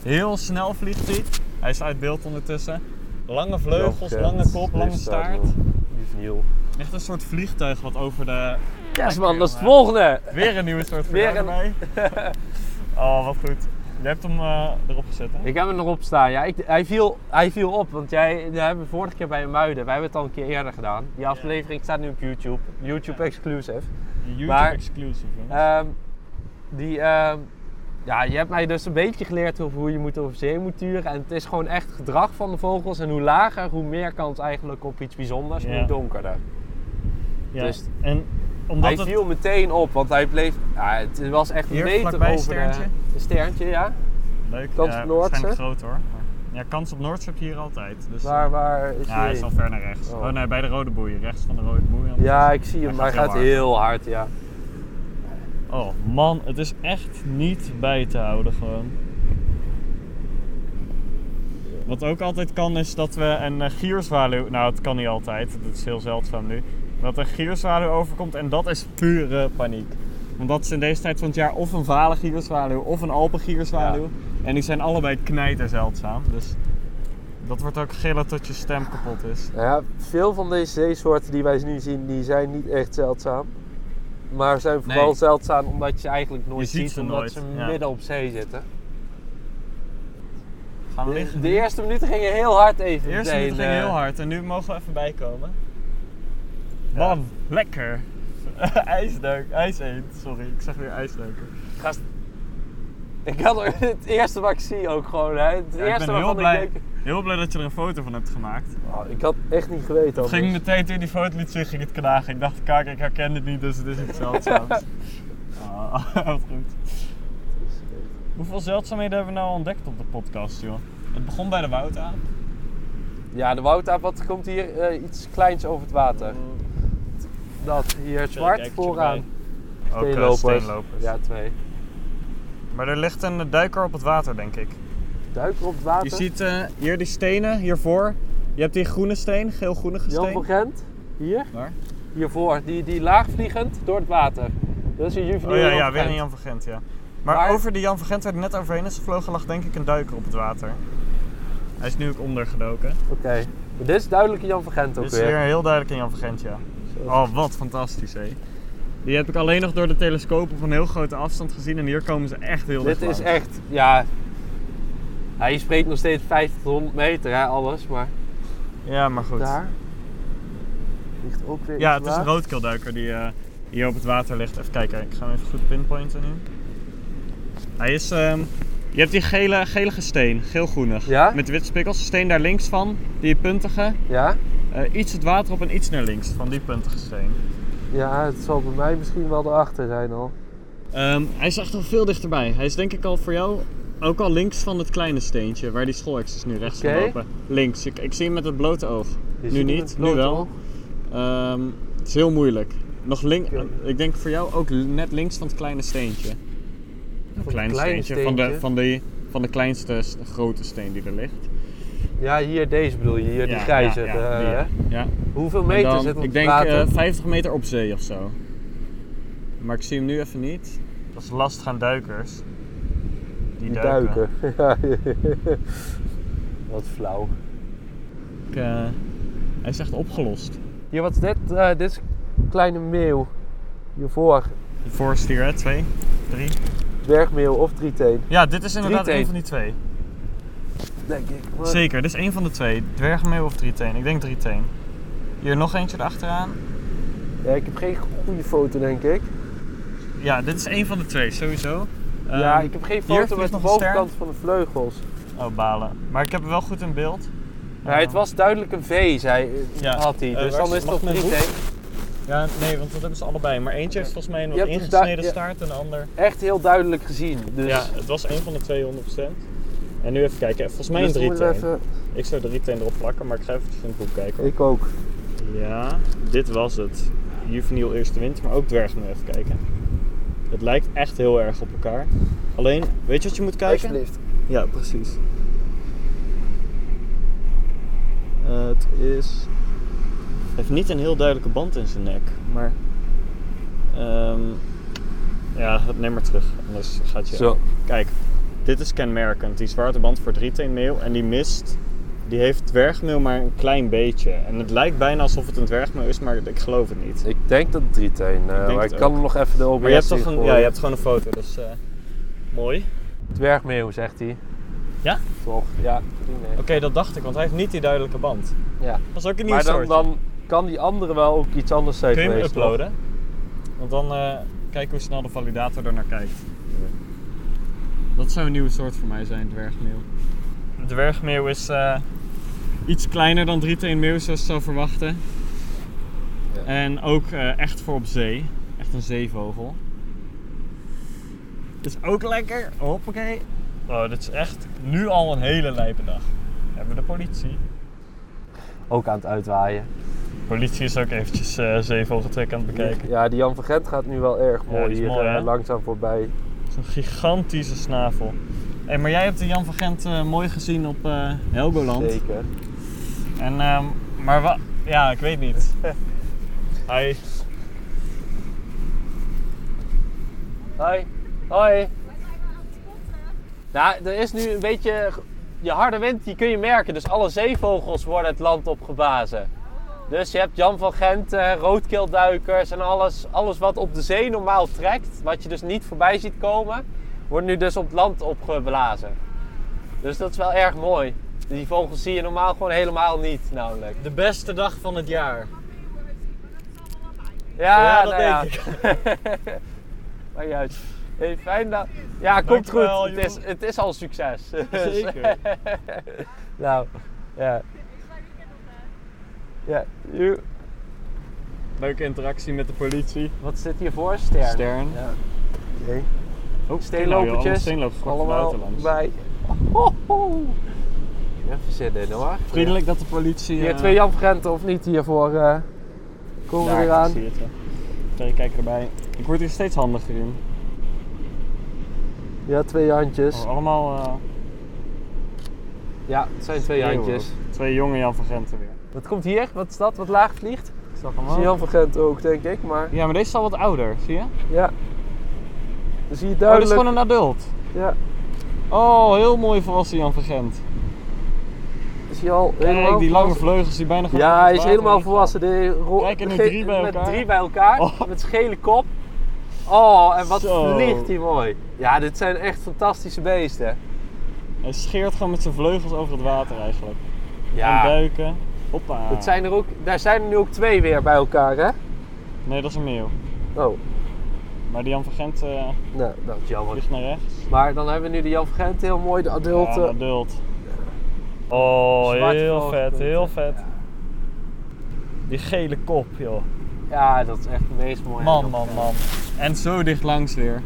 Heel snel vliegt hij. Hij is uit beeld ondertussen. Lange vleugels,
Jan
lange
Gent
kop, lange
heeft daar
staart.
nog Juveniel.
Echt een soort vliegtuig wat over de...
Yes man, dat is het
jongen.
volgende.
Weer een nieuwe soort
Weer
vliegtuig erbij. Oh, wat goed. Je hebt hem eh, erop gezet, hè?
Ik heb hem nog op staan. Ja, ik, hij, viel, hij viel op, want jij, we hebben vorige keer bij Muiden, wij hebben het al een keer eerder gedaan. Die aflevering staat nu op YouTube. YouTube exclusive.
YouTube
Maar-
exclusive, jongens.
Ehm, die, ehm, ja, je hebt mij dus een beetje geleerd over hoe je moet over zee moet turen. En het is gewoon echt gedrag van de vogels. En hoe lager, hoe meer kans eigenlijk op iets bijzonders,
Ja.
hoe donkerder.
Ja.
dus-
en omdat
hij
het...
viel meteen op, want hij bleef... Ja, het was echt een
Hier,
meter
vlakbij
over
Sterntje.
de... Een sterntje, ja.
Leuk,
Kans
ja,
op Noordse.
waarschijnlijk groot hoor. Maar- Ja, kans op Noordse heb je hier altijd. Dus,
Waar, waar is
ja,
hij?
hij is al ver naar rechts.
Oh.
Oh, nee, bij de rode boei. Rechts van de rode boei.
Ja, ik zie hem, maar
Hij
hij gaat
gaat
heel hard, ja.
Oh man, het is echt niet bij te houden gewoon. Wat ook altijd kan is dat we een eh, gierzwaluw... Nou, het kan niet altijd. Dat is heel zeldzaam nu. Dat een gierzwaluw overkomt en dat is pure paniek. Want dat is in deze tijd van het jaar of een vale gierzwaluw of een alpengierzwaluw. En die zijn allebei knijter zeldzaam. Dus dat wordt ook gillen tot je stem kapot is.
Nou ja, veel van deze zeesoorten die wij nu zien, die zijn niet echt zeldzaam. Maar zijn vooral
Nee.
zeldzaam omdat je ze eigenlijk nooit
Je ziet
ziet,
ze
omdat
nooit,
ze
ja.
midden op zee zitten.
Gaan
De,
liggen.
de eerste minuten gingen heel hard even.
De eerste
meteen,
minuut ging
eh,
heel hard en nu mogen we even bijkomen. Man, lekker. IJsduik, ijseend, sorry, ik zeg weer ijsduiker.
Ik had ook- het eerste wat ik zie ook gewoon. Hè. Het
Ja, ik
eerste
ben heel
waarvan
blij,
ik denk.
heel blij dat je er een foto van hebt gemaakt.
Oh, ik had echt niet geweten.
Het
anders.
ging meteen toen je die foto liet zien, ging het knagen. Ik dacht, kijk, ik herken het niet, dus het is iets zeldzaams. Ah, wat goed. Hoeveel zeldzaamheden hebben we nou ontdekt op de podcast, joh? Het begon bij de woudaap.
Ja, de woudaap, wat komt hier? Eh, iets kleins over het water. Dat hier zwart
kijkertje
vooraan.
erbij. Ook eh, steenlopers.
Ja, twee.
Maar er ligt een duiker op het water, denk ik.
Duiker op het water.
Je ziet eh, hier die stenen hiervoor. Je hebt die groene steen, geel-groene
Jan van
steen.
Gent, hier.
Waar?
Hiervoor, die, die laagvliegend door het water. Dat is een juveniel.
Oh ja,
Jan
ja,
van
weer een
Gent.
Jan van Gent, ja. Maar,
Maar-
over die Jan van Gent waar hij net overheen is gevlogen lag denk ik een duiker op het water. Hij is nu ook ondergedoken.
Oké. Maar Dit is duidelijk een Jan van Gent ook
Dit is
weer.
weer heel duidelijk een Jan van Gent, ja. Oh, wat fantastisch, hé. Die heb ik alleen nog door de telescoop op een heel grote afstand gezien. En hier komen ze echt heel dicht
Dit is
langs.
echt, ja... Hij spreekt nog steeds 50 tot 100 meter, hè, alles, maar...
Ja, maar goed.
Daar ligt ook weer
Ja,
iets
het is een
laag.
roodkeelduiker die eh, hier op het water ligt. Even kijken, ik ga hem even goed pinpointen nu. Hij is... ehm, je hebt die gele, gelige steen, geel-groenig.
Ja?
Met witte spikkels. Steen daar links van, die puntige.
Ja?
Eh, iets het water op en iets naar links van die puntige steen.
Ja, het zal bij mij misschien wel erachter zijn al.
Ehm, hij is echt al veel dichterbij. Hij is denk ik al voor jou ook al links van het kleine steentje, waar die schoolheks is nu rechts
Oké.
gelopen. Links, ik, ik zie hem met het blote oog.
Je ziet
nu
hem met
niet,
het
nu
blote
wel.
oog.
Ehm, het is heel moeilijk. Nog link,
Oké.
ik denk voor jou ook net links van het kleine steentje. Een
het
klein
kleine
steentje, Van, de,
steentje?
van, de, van de kleinste s- grote steen die er ligt.
Ja, hier deze bedoel je, hier die
Ja,
grijze.
ja, ja,
eh,
die,
hè?
ja.
Hoeveel
En
meter
dan,
zit op
ik
het
denk
water?
eh, 50 meter op zee of zo. Maar ik zie hem nu even niet.
Oké.
Dat is last gaan duikers. Die,
Die
duiken.
duiken. Wat flauw.
Ik, eh, hij is echt opgelost.
Hier, wat is dit? Eh, dit is een kleine meeuw. Hiervoor.
Die voorste hier, hè? Twee, drie.
Dwergmeel of drieteen,
Ja, dit is inderdaad
Drieteen.
een van die twee.
denk ik. Maar-
Zeker, dit is één van de twee. Dwergmeel of drieteen? Ik denk drieteen. Hier nog eentje erachteraan.
Ja, ik heb geen goede foto, denk ik.
Ja, dit is één van de twee, sowieso.
ja,
Ehm,
ik heb geen
hier
foto
vliegt
met de
nog een ster.
bovenkant van de vleugels.
Oh, balen. Maar ik heb hem wel goed in beeld.
Ja, het was duidelijk een V, zei,
Ja.
had hij.
Eh,
Dus
waar
dan
is-
is het
mag ik
nog
mijn
niet.
broek?
hè?
Ja, nee, want dat hebben ze allebei. Maar eentje heeft volgens mij een
Je
wat
hebt dus
ingesneden
daar- ja.
staart en de ander...
Echt heel duidelijk gezien. Dus
Ja, het was één van de twee 100%. En nu even kijken. Volgens mij een
Dus dan moeten we
3 Ik zou de 3 erop plakken, maar ik ga eventjes in het boek kijken.
even- Ik ook.
Ja, dit was het. Juveniel eerste wind, maar ook dwergmeel even kijken. Het lijkt echt heel erg op elkaar. Alleen, weet je wat je moet kijken?
Alsjeblieft.
Ja, precies. het is... Hij heeft niet een heel duidelijke band in zijn nek, maar... ehm, ja, neem maar terug, anders gaat je...
Zo.
Kijk, dit is kenmerkend. Die zwarte band voor drieteenmeel en die mist, die heeft dwergmeel maar een klein beetje. En het lijkt bijna alsof het een dwergmeel is, maar ik geloof het niet.
Ik denk dat
Nou,
drieteen. eh,
denk
maar
het
ik kan
ook.
hem nog even de OBS
Maar je hebt
zien
toch een,
gooien.
ja, je hebt gewoon een foto, dus eh, mooi. Oké,
dwergmeeuw, zegt hij.
Ja?
Toch? Ja. nee.
dat dacht ik, want hij heeft niet die duidelijke band.
Ja.
Dat is ook een nieuw
Maar dan,
soort.
dan kan die andere wel ook iets anders zijn
Kun je hem
geweest. toch?
uploaden? Want dan eh, kijken hoe snel de validator er naar kijkt. Dat zou een nieuwe soort voor mij zijn, dwergmeeuw. Dwergmeeuw is eh, iets kleiner dan drieteenmeeuw, zoals je zou verwachten. En ook eh, echt voor op zee. Echt een zeevogel. Is ook lekker. Hoppakee. Oh, dit is echt nu al een hele lijpe dag. Hebben we de politie.
Ook aan het uitwaaien.
Politie is ook eventjes eh zeevogeltrek aan het bekijken.
Ja, die Jan van Gent gaat nu wel erg mooi
die is
hier
mooi,
eh,
hè?
langzaam voorbij.
Zo'n gigantische snavel. Hey, maar jij hebt de Jan van Gent eh, mooi gezien op eh, Helgoland.
Zeker.
En, ehm, maar wat? Ja, ik weet niet. Hij.
Hoi. Hoi. Nou, er is nu een beetje... Je harde wind, die kun je merken. Dus alle zeevogels worden het land op gebazen. Dus je hebt Jan van Gent, eh, roodkeelduikers en alles, alles wat op de zee normaal trekt. Wat je dus niet voorbij ziet komen, wordt nu dus op het land opgeblazen. Dus dat is wel erg mooi. Die vogels zie je normaal gewoon helemaal niet namelijk.
De beste dag van het jaar.
Ja,
Ja, dat
nou ja.
denk
maar juist. Hey, fijn dat... Ja, komt
Dankjewel,
goed. Het is,
joh.
het is al een succes. Dus, eh,
Zeker.
nou, ja. Ja, joe.
Leuke interactie met de politie.
wat zit hier voor? Stern.
Stern.
Ja.
Oké.
Oh,
Steenlopertjes.
Steenlopertjes.
Allemaal bij. Ho, ho. Even zitten hoor.
Vriendelijk dat de politie...
Hier
eh,
twee Jan Vrenten of niet hiervoor. eh komen
daar,
we weer aan.
zie je het, hè. Oké, kijk erbij. Ik word hier steeds handiger in.
Ja, twee handjes.
Oh, allemaal eh,
Ja, het zijn twee handjes.
twee jonge Jan van Genten weer.
Wat komt hier? Wat is dat? Wat laag vliegt?
Ik zag
Dat is Jan van Gent ook, denk ik. Maar
Ja, maar deze is al wat ouder, zie je?
ja. Dan zie je
Oh, dit is
duidelijk.
gewoon een adult.
Ja,
Oh, heel mooi volwassen Jan van Gent.
dan zie je al helemaal
Kijk, die lange
volwassen.
vleugels die bijna gewoon
Ja,
over
hij
het
is
water
helemaal
heen gaan.
volwassen. De ro-
Kijk, en nu
ge-
drie bij
met
elkaar.
drie bij elkaar,
Oh.
met gele kop. Oh, en wat
Zo.
vliegt die mooi. Ja, dit zijn echt fantastische beesten.
Hij scheert gewoon met zijn vleugels over het water eigenlijk. En
Ja,
duiken. Hoppa.
dat zijn er ook, daar zijn er nu ook twee weer bij elkaar, hè?
Nee, dat is een meeuw.
Oh,
Maar die Jan van Gent eh,
nou, nou.
Jammer.
ligt naar rechts.
Maar dan hebben we nu de Jan van Gent, heel mooi, de
Ja, nou,
adult.
een
eh,
adult. Oh,
Zwart
heel
vleugel.
vet, heel vet. Die gele kop, joh.
Ja, dat is echt het meest mooie.
Man,
Jan van
man,
Gent.
man. En zo dicht langs weer.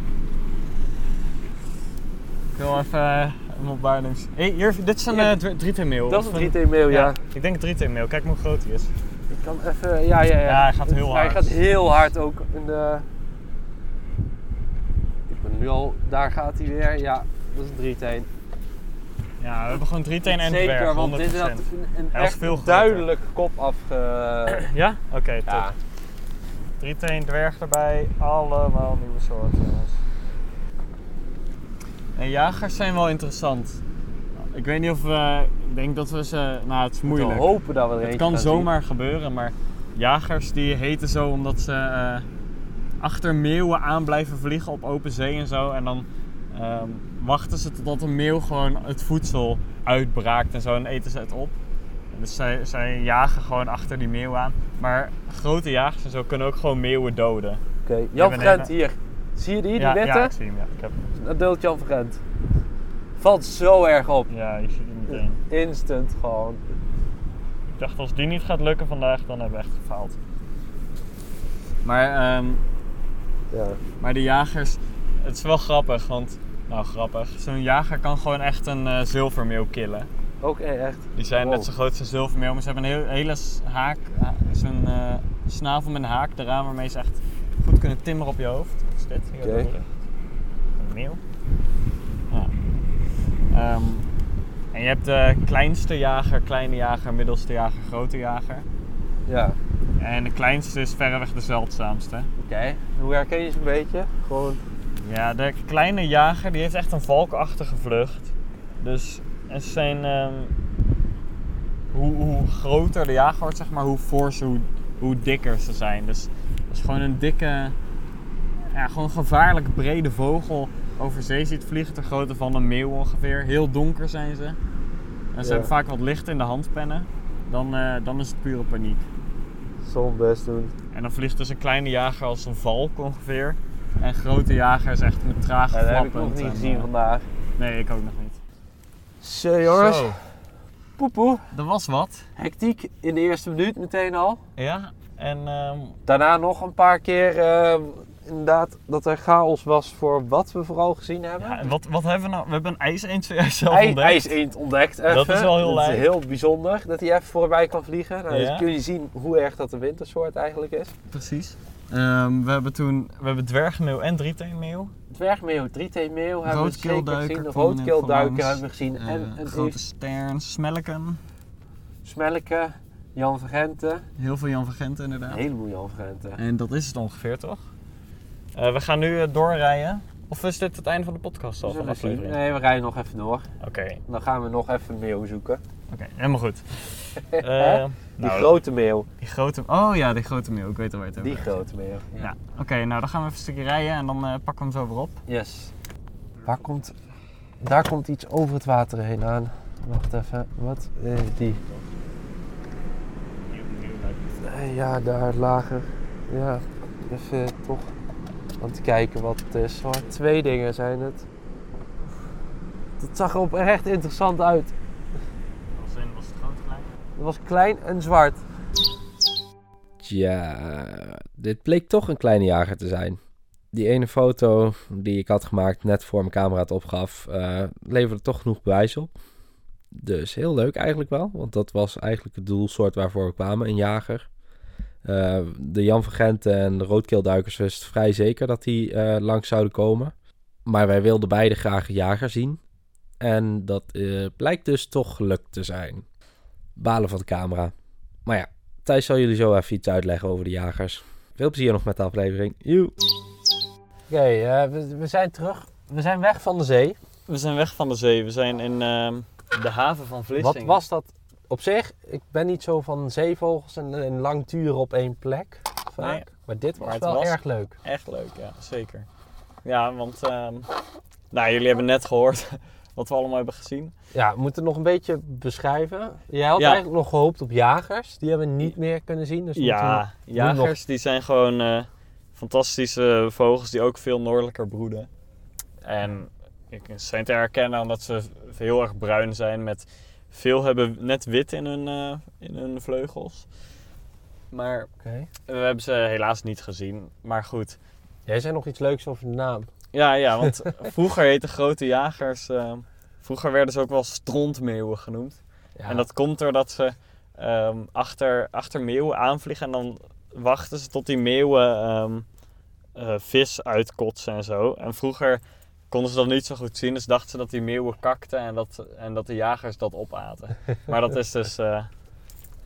Ik wil even eh, hem op waarneming. Hé, hier, dit is een
Ja.
eh, drie- 3T-mail.
Dat is een 3D-mail, ja.
Ik denk 3T-mail, kijk maar hoe groot hij is.
Ik kan even, ja, ja, ja.
Ja, hij gaat heel hard.
Hij gaat heel hard ook in de... Ik ben nu al, daar gaat hij weer. Ja, dat is een 3
Ja, we hebben gewoon 3T en
Zeker,
dwerg, 100%.
want dit had een, een
Hij was
echt
veel groter.
duidelijke kop afge...
Ja? Oké, top.
ja.
3T dwerg erbij, allemaal nieuwe soorten, jongens. Nee, jagers zijn wel interessant. Ik weet niet of we... Ik denk dat we ze... Nou, het is
We
moeilijk.
hopen dat we er
Het
eentje
kan
gaan zien.
zomaar gebeuren, maar jagers die heten zo omdat ze eh, achter meeuwen aan blijven vliegen op open zee en zo. En dan ehm, wachten ze totdat een meeuw gewoon het voedsel uitbraakt en zo en eten ze het op. En Dus zij, zij jagen gewoon achter die meeuw aan. Maar grote jagers en zo kunnen ook gewoon meeuwen doden.
Oké,
Jan
Ja,
van
we nemen-
Gent hier. Zie je die, die
ja,
witte?
ja, ik zie hem. Ja, ik heb, hem.
Dat deelt Jan van Gent. Valt zo erg op.
ja je ziet hem meteen.
Instant gewoon.
Ik dacht, als die niet gaat lukken vandaag, dan hebben we echt gefaald. Maar ehm,
ja.
Maar de jagers, het is wel grappig, want, nou grappig, zo'n jager kan gewoon echt een eh, zilvermeeuw killen.
Ook echt.
Die zijn
Wow.
Oh.
net zo groot als een zilvermeeuw, maar ze hebben een heel, hele s- haak, ha- zo'n eh, snavel met een haak eraan waarmee ze echt goed kunnen timmeren op je hoofd. Wat is dit? Hier
Oké.
op de rug. Een meeuw. Ja. Ehm, en je hebt de kleinste jager, kleine jager, middelste jager, grote jager.
Ja.
En de kleinste is verreweg de zeldzaamste.
Oké, hoe herken je ze een beetje?
Gewoon.
Ja, de kleine jager die heeft echt een valkachtige vlucht. Dus en ze zijn. ehm, hoe, hoe groter de jager wordt, zeg maar, hoe voor ze, hoe, hoe dikker ze zijn. Dus als je gewoon een dikke, ja, gewoon gevaarlijk brede vogel over zee ziet vliegen, ter grootte van een meeuw ongeveer. Heel donker zijn ze. En ze
Ja.
hebben vaak wat licht in de handpennen. Dan, eh, dan is het pure paniek.
Zo'n best doen.
En dan vliegt dus een kleine jager als een valk ongeveer. En een grote jager is echt met traag
Ja, dat heb ik
flappend
nog niet
en,
gezien
eh,
vandaag.
Nee, ik ook nog niet.
Zo jongens.
Zo,
Poepoe.
er was wat.
Hectiek in de eerste minuut meteen al.
Ja, en ehm,
Daarna nog een paar keer eh, inderdaad dat er chaos was voor wat we vooral gezien hebben.
ja, en wat, wat hebben we nou? We hebben een ijseend zelf
Hij,
ontdekt.
hij is eend ontdekt. Even.
Dat is wel heel
Dat is
lijp.
heel bijzonder dat hij even voorbij kan vliegen. Nou,
Ja.
Dan kun je zien hoe erg dat een wintersoort eigenlijk is.
Precies. Ehm, we hebben toen we hebben dwergmeeuw en drieteenmeeuw.
Dwergmeeuw, drieteemmeeuw hebben we zeker
Roodkeelduiker
gezien. De
kwam in voor
roodkeelduiker
langs.
hebben we gezien.
Eh,
en een
grote
grote...
stern, smelken.
smelke, Jan Vergenten.
Heel veel Jan van Gent
Een
inderdaad.
heleboel Jan Vergenten.
En dat is het ongeveer toch? Eh, we gaan nu eh, doorrijden. Of is dit het einde van de podcast al?
We
Van de
zullen zien.
aflevering?
Nee, we rijden nog even door.
Oké,
Dan gaan we nog even een meeuw zoeken.
oké, helemaal goed. Eh,
Die
nou,
grote meeuw.
die grote. Oh ja, die grote meeuw. Ik weet al waar je het over
Die
hebt.
grote meeuw. Ja.
Ja, oké, nou dan gaan we even een stukje rijden en dan eh, pakken we hem zo weer op.
Yes. Waar komt... Daar komt iets over het water heen aan. Wacht even. Wat is die? Eh, Ja, daar lager. Ja, even toch aan het kijken wat het is. hoor. Twee dingen zijn het. Dat zag er oprecht interessant uit.
Als in was het groot gelijk.
Het was klein en zwart.
Tja, dit bleek toch een kleine jager te zijn. Die ene foto die ik had gemaakt net voor mijn camera het opgaf, eh, leverde toch genoeg bewijs op. Dus heel leuk eigenlijk wel, want dat was eigenlijk het doelsoort waarvoor we kwamen, een jager. Eh, de Jan van Gent en de roodkeelduikers wist vrij zeker dat die eh, langs zouden komen. Maar wij wilden beide graag een jager zien. En dat eh, blijkt dus toch gelukt te zijn. Balen van de camera. Maar ja, Thijs zal jullie zo even iets uitleggen over de jagers. Veel plezier nog met de aflevering. Joe!
Oké, eh, we, we zijn terug. We zijn weg van de zee.
We zijn weg van de zee, we zijn in ehm, de haven van
Wat
Vlissingen.
was dat op zich? Ik ben niet zo van zeevogels en, en lang duren op één plek. Vaak.
Nee.
Maar dit was
Maar het
wel
was-
erg leuk.
Echt leuk, ja, zeker. Ja, want ehm, nou, jullie hebben net gehoord wat we allemaal hebben gezien.
Ja, we moeten het nog een beetje beschrijven. Jij had
Ja.
eigenlijk nog gehoopt op jagers. Die hebben we niet meer kunnen zien. Dus we moeten-
Ja, jagers die zijn gewoon eh, fantastische vogels die ook veel noordelijker broeden. En ik- ze zijn te herkennen omdat ze heel erg bruin zijn. Met veel hebben net wit in hun, eh, in hun vleugels. Maar
Oké.
we hebben ze helaas niet gezien. Maar goed.
Jij zei nog iets leuks over de naam.
Ja, ja want vroeger heten grote jagers... eh, vroeger werden ze ook wel strontmeeuwen genoemd.
Ja.
En dat komt doordat ze ehm, achter, achter meeuwen aanvliegen en dan wachten ze tot die meeuwen ehm, eh, vis uitkotsen en zo. En vroeger konden ze dat niet zo goed zien, dus dachten ze dat die meeuwen kakten en dat, en dat de jagers dat opaten. maar dat is dus eh,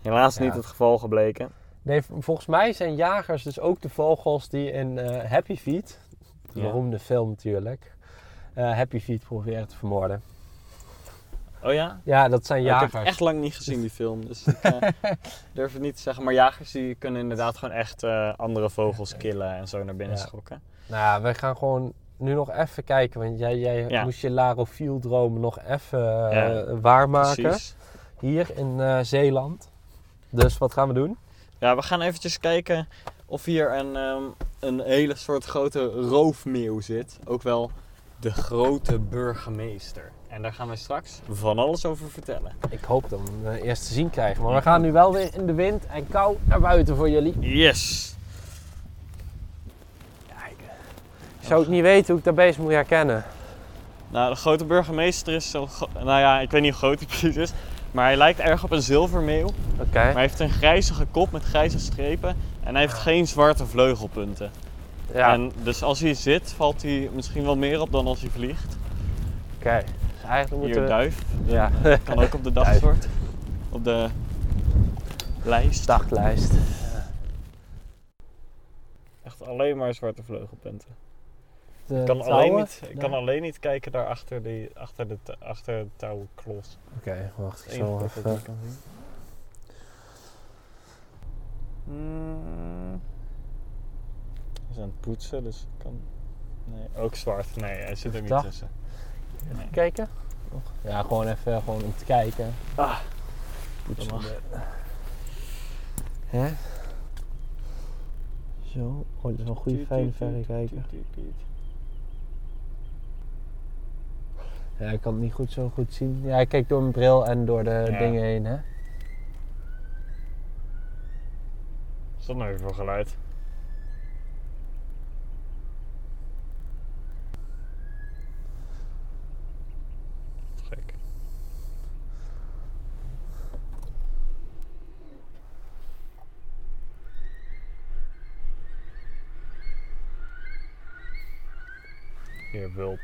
helaas
Ja.
niet het geval gebleken.
Nee, v- volgens mij zijn jagers dus ook de vogels die in eh, Happy Feet, de
Ja.
beroemde film natuurlijk, eh, eh, Happy Feet proberen te vermoorden.
Oh ja?
Ja, dat zijn
Ja, ik heb
jagers.
het echt lang niet gezien, die film. Dus ik eh, durf het niet te zeggen. Maar jagers die kunnen inderdaad gewoon echt eh, andere vogels killen en zo naar binnen
Ja.
schokken.
Nou ja, we gaan gewoon nu nog even kijken. Want jij, jij
Ja.
moest je larofiel-droom nog even eh,
Ja,
waarmaken.
Precies.
Hier in eh, Zeeland. Dus wat gaan we doen?
Ja, we gaan eventjes kijken of hier een, ehm, een hele soort grote roofmeeuw zit. Ook wel de grote burgemeester. En daar gaan we straks van alles over vertellen.
Ik hoop dat we hem eh, eerst te zien krijgen. Maar we gaan nu wel weer in de wind en kou naar buiten voor jullie.
Yes!
Ik zou ook niet weten hoe ik dat beest moet herkennen.
Nou, de grote burgemeester is zo... gro- Nou ja, ik weet niet hoe groot hij precies is. Maar hij lijkt erg op een zilvermeeuw.
Oké.
Maar hij heeft een grijzige kop met grijze strepen. En hij heeft geen zwarte vleugelpunten.
Ja, oké.
En dus als hij zit, valt hij misschien wel meer op dan als hij vliegt.
Dus eigenlijk
Hier
moeten we...
duif.
Ja,
Kan ook op de
Duif.
dagsoort. Op de lijst.
daglijst.
Echt alleen maar zwarte vleugelpunten.
De
Ik kan,
Eh, touwen?
alleen niet, ik kan
Nee.
alleen niet kijken daar achter, die, achter, de, t- achter de touwklos.
Oké, wacht. Ik
Het enige
zal
wat ik niet
even...
kan zien. Mm. Hij is aan het poetsen, dus ik kan... Nee, ook zwart. Nee, hij zit er niet
Dag.
tussen.
Kijken? Ja, gewoon even gewoon om te kijken.
Ah. Dat mag.
Hè? Zo. Oh, dat is wel een goede fijne verrekijker. Ja, ik kan het niet goed zo goed zien. Ja, ik kijk door mijn bril en door de
Ja.
dingen heen, hè?
Wat is dat nou weer voor geluid? Wat Gek. Hier, wulp.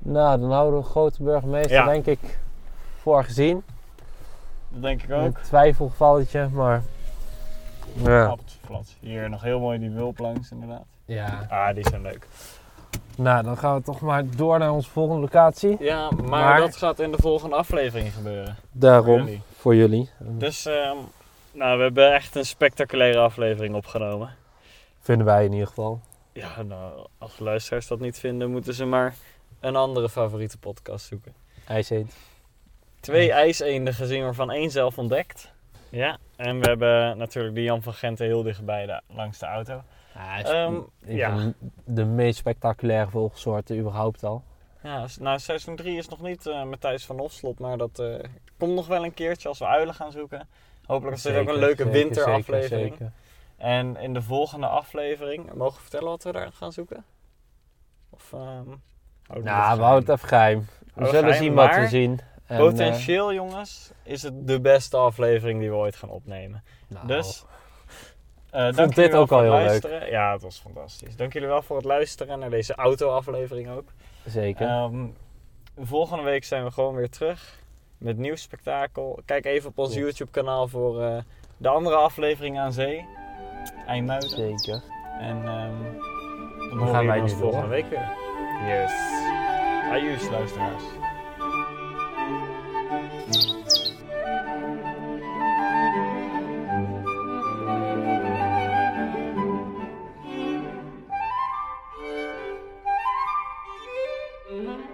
Nou, dan houden we de grote burgemeester,
Ja.
denk ik, voor gezien.
Dat denk ik
Een
ook.
twijfelgevalletje, maar. Ja.
Appeltjeflat. Hier, nog heel mooi die wulp langs inderdaad.
ja.
Ah, die zijn leuk.
Nou, dan gaan we toch maar door naar onze volgende locatie.
Ja, maar,
Maar-
dat gaat in de volgende aflevering gebeuren. Voor
Daarom,
jullie.
voor jullie.
Dus, ehm, nou, we hebben echt een spectaculaire aflevering opgenomen.
Vinden wij in ieder geval.
Ja, nou, als luisteraars dat niet vinden, moeten ze maar een andere favoriete podcast zoeken.
IJseend.
Twee ijseenden gezien waarvan één zelf ontdekt. Ja, en we hebben natuurlijk die Jan van Genten heel dichtbij de, langs de auto.
Ja,
Ehm, ja.
de meest spectaculaire vogelsoorten überhaupt al.
Ja, s- nou, seizoen 3 is nog niet eh Matthijs van Hofslot, maar dat eh, komt nog wel een keertje als we uilen gaan zoeken. Hopelijk is dit ook een leuke
Zeker, zeker,
winteraflevering.
zeker.
En in de volgende aflevering, mogen we vertellen wat we daar gaan zoeken? Of, ehm
Nou, we houden het even geheim. We
het
zullen
Oh, geheim,
zien wat we
maar
zien. En, eh,
Potentieel, jongens, is het de beste aflevering die we ooit gaan opnemen.
nou,
Dus. eh,
dit
jullie wel
ook
voor
al
het
heel leuk.
luisteren. Ja, het was fantastisch. Dank jullie wel voor het luisteren naar deze auto-aflevering ook.
Zeker.
Ehm, volgende week zijn we gewoon weer terug met nieuw spektakel. Kijk even op ons
Klopt.
YouTube-kanaal voor eh, de andere aflevering aan zee. IJmuiden.
zeker.
En ehm dan
gaan
horen
wij
wij ons
nu
volgende
door.
week weer. Yes. Adieu, luisteraars.
Mm-hmm.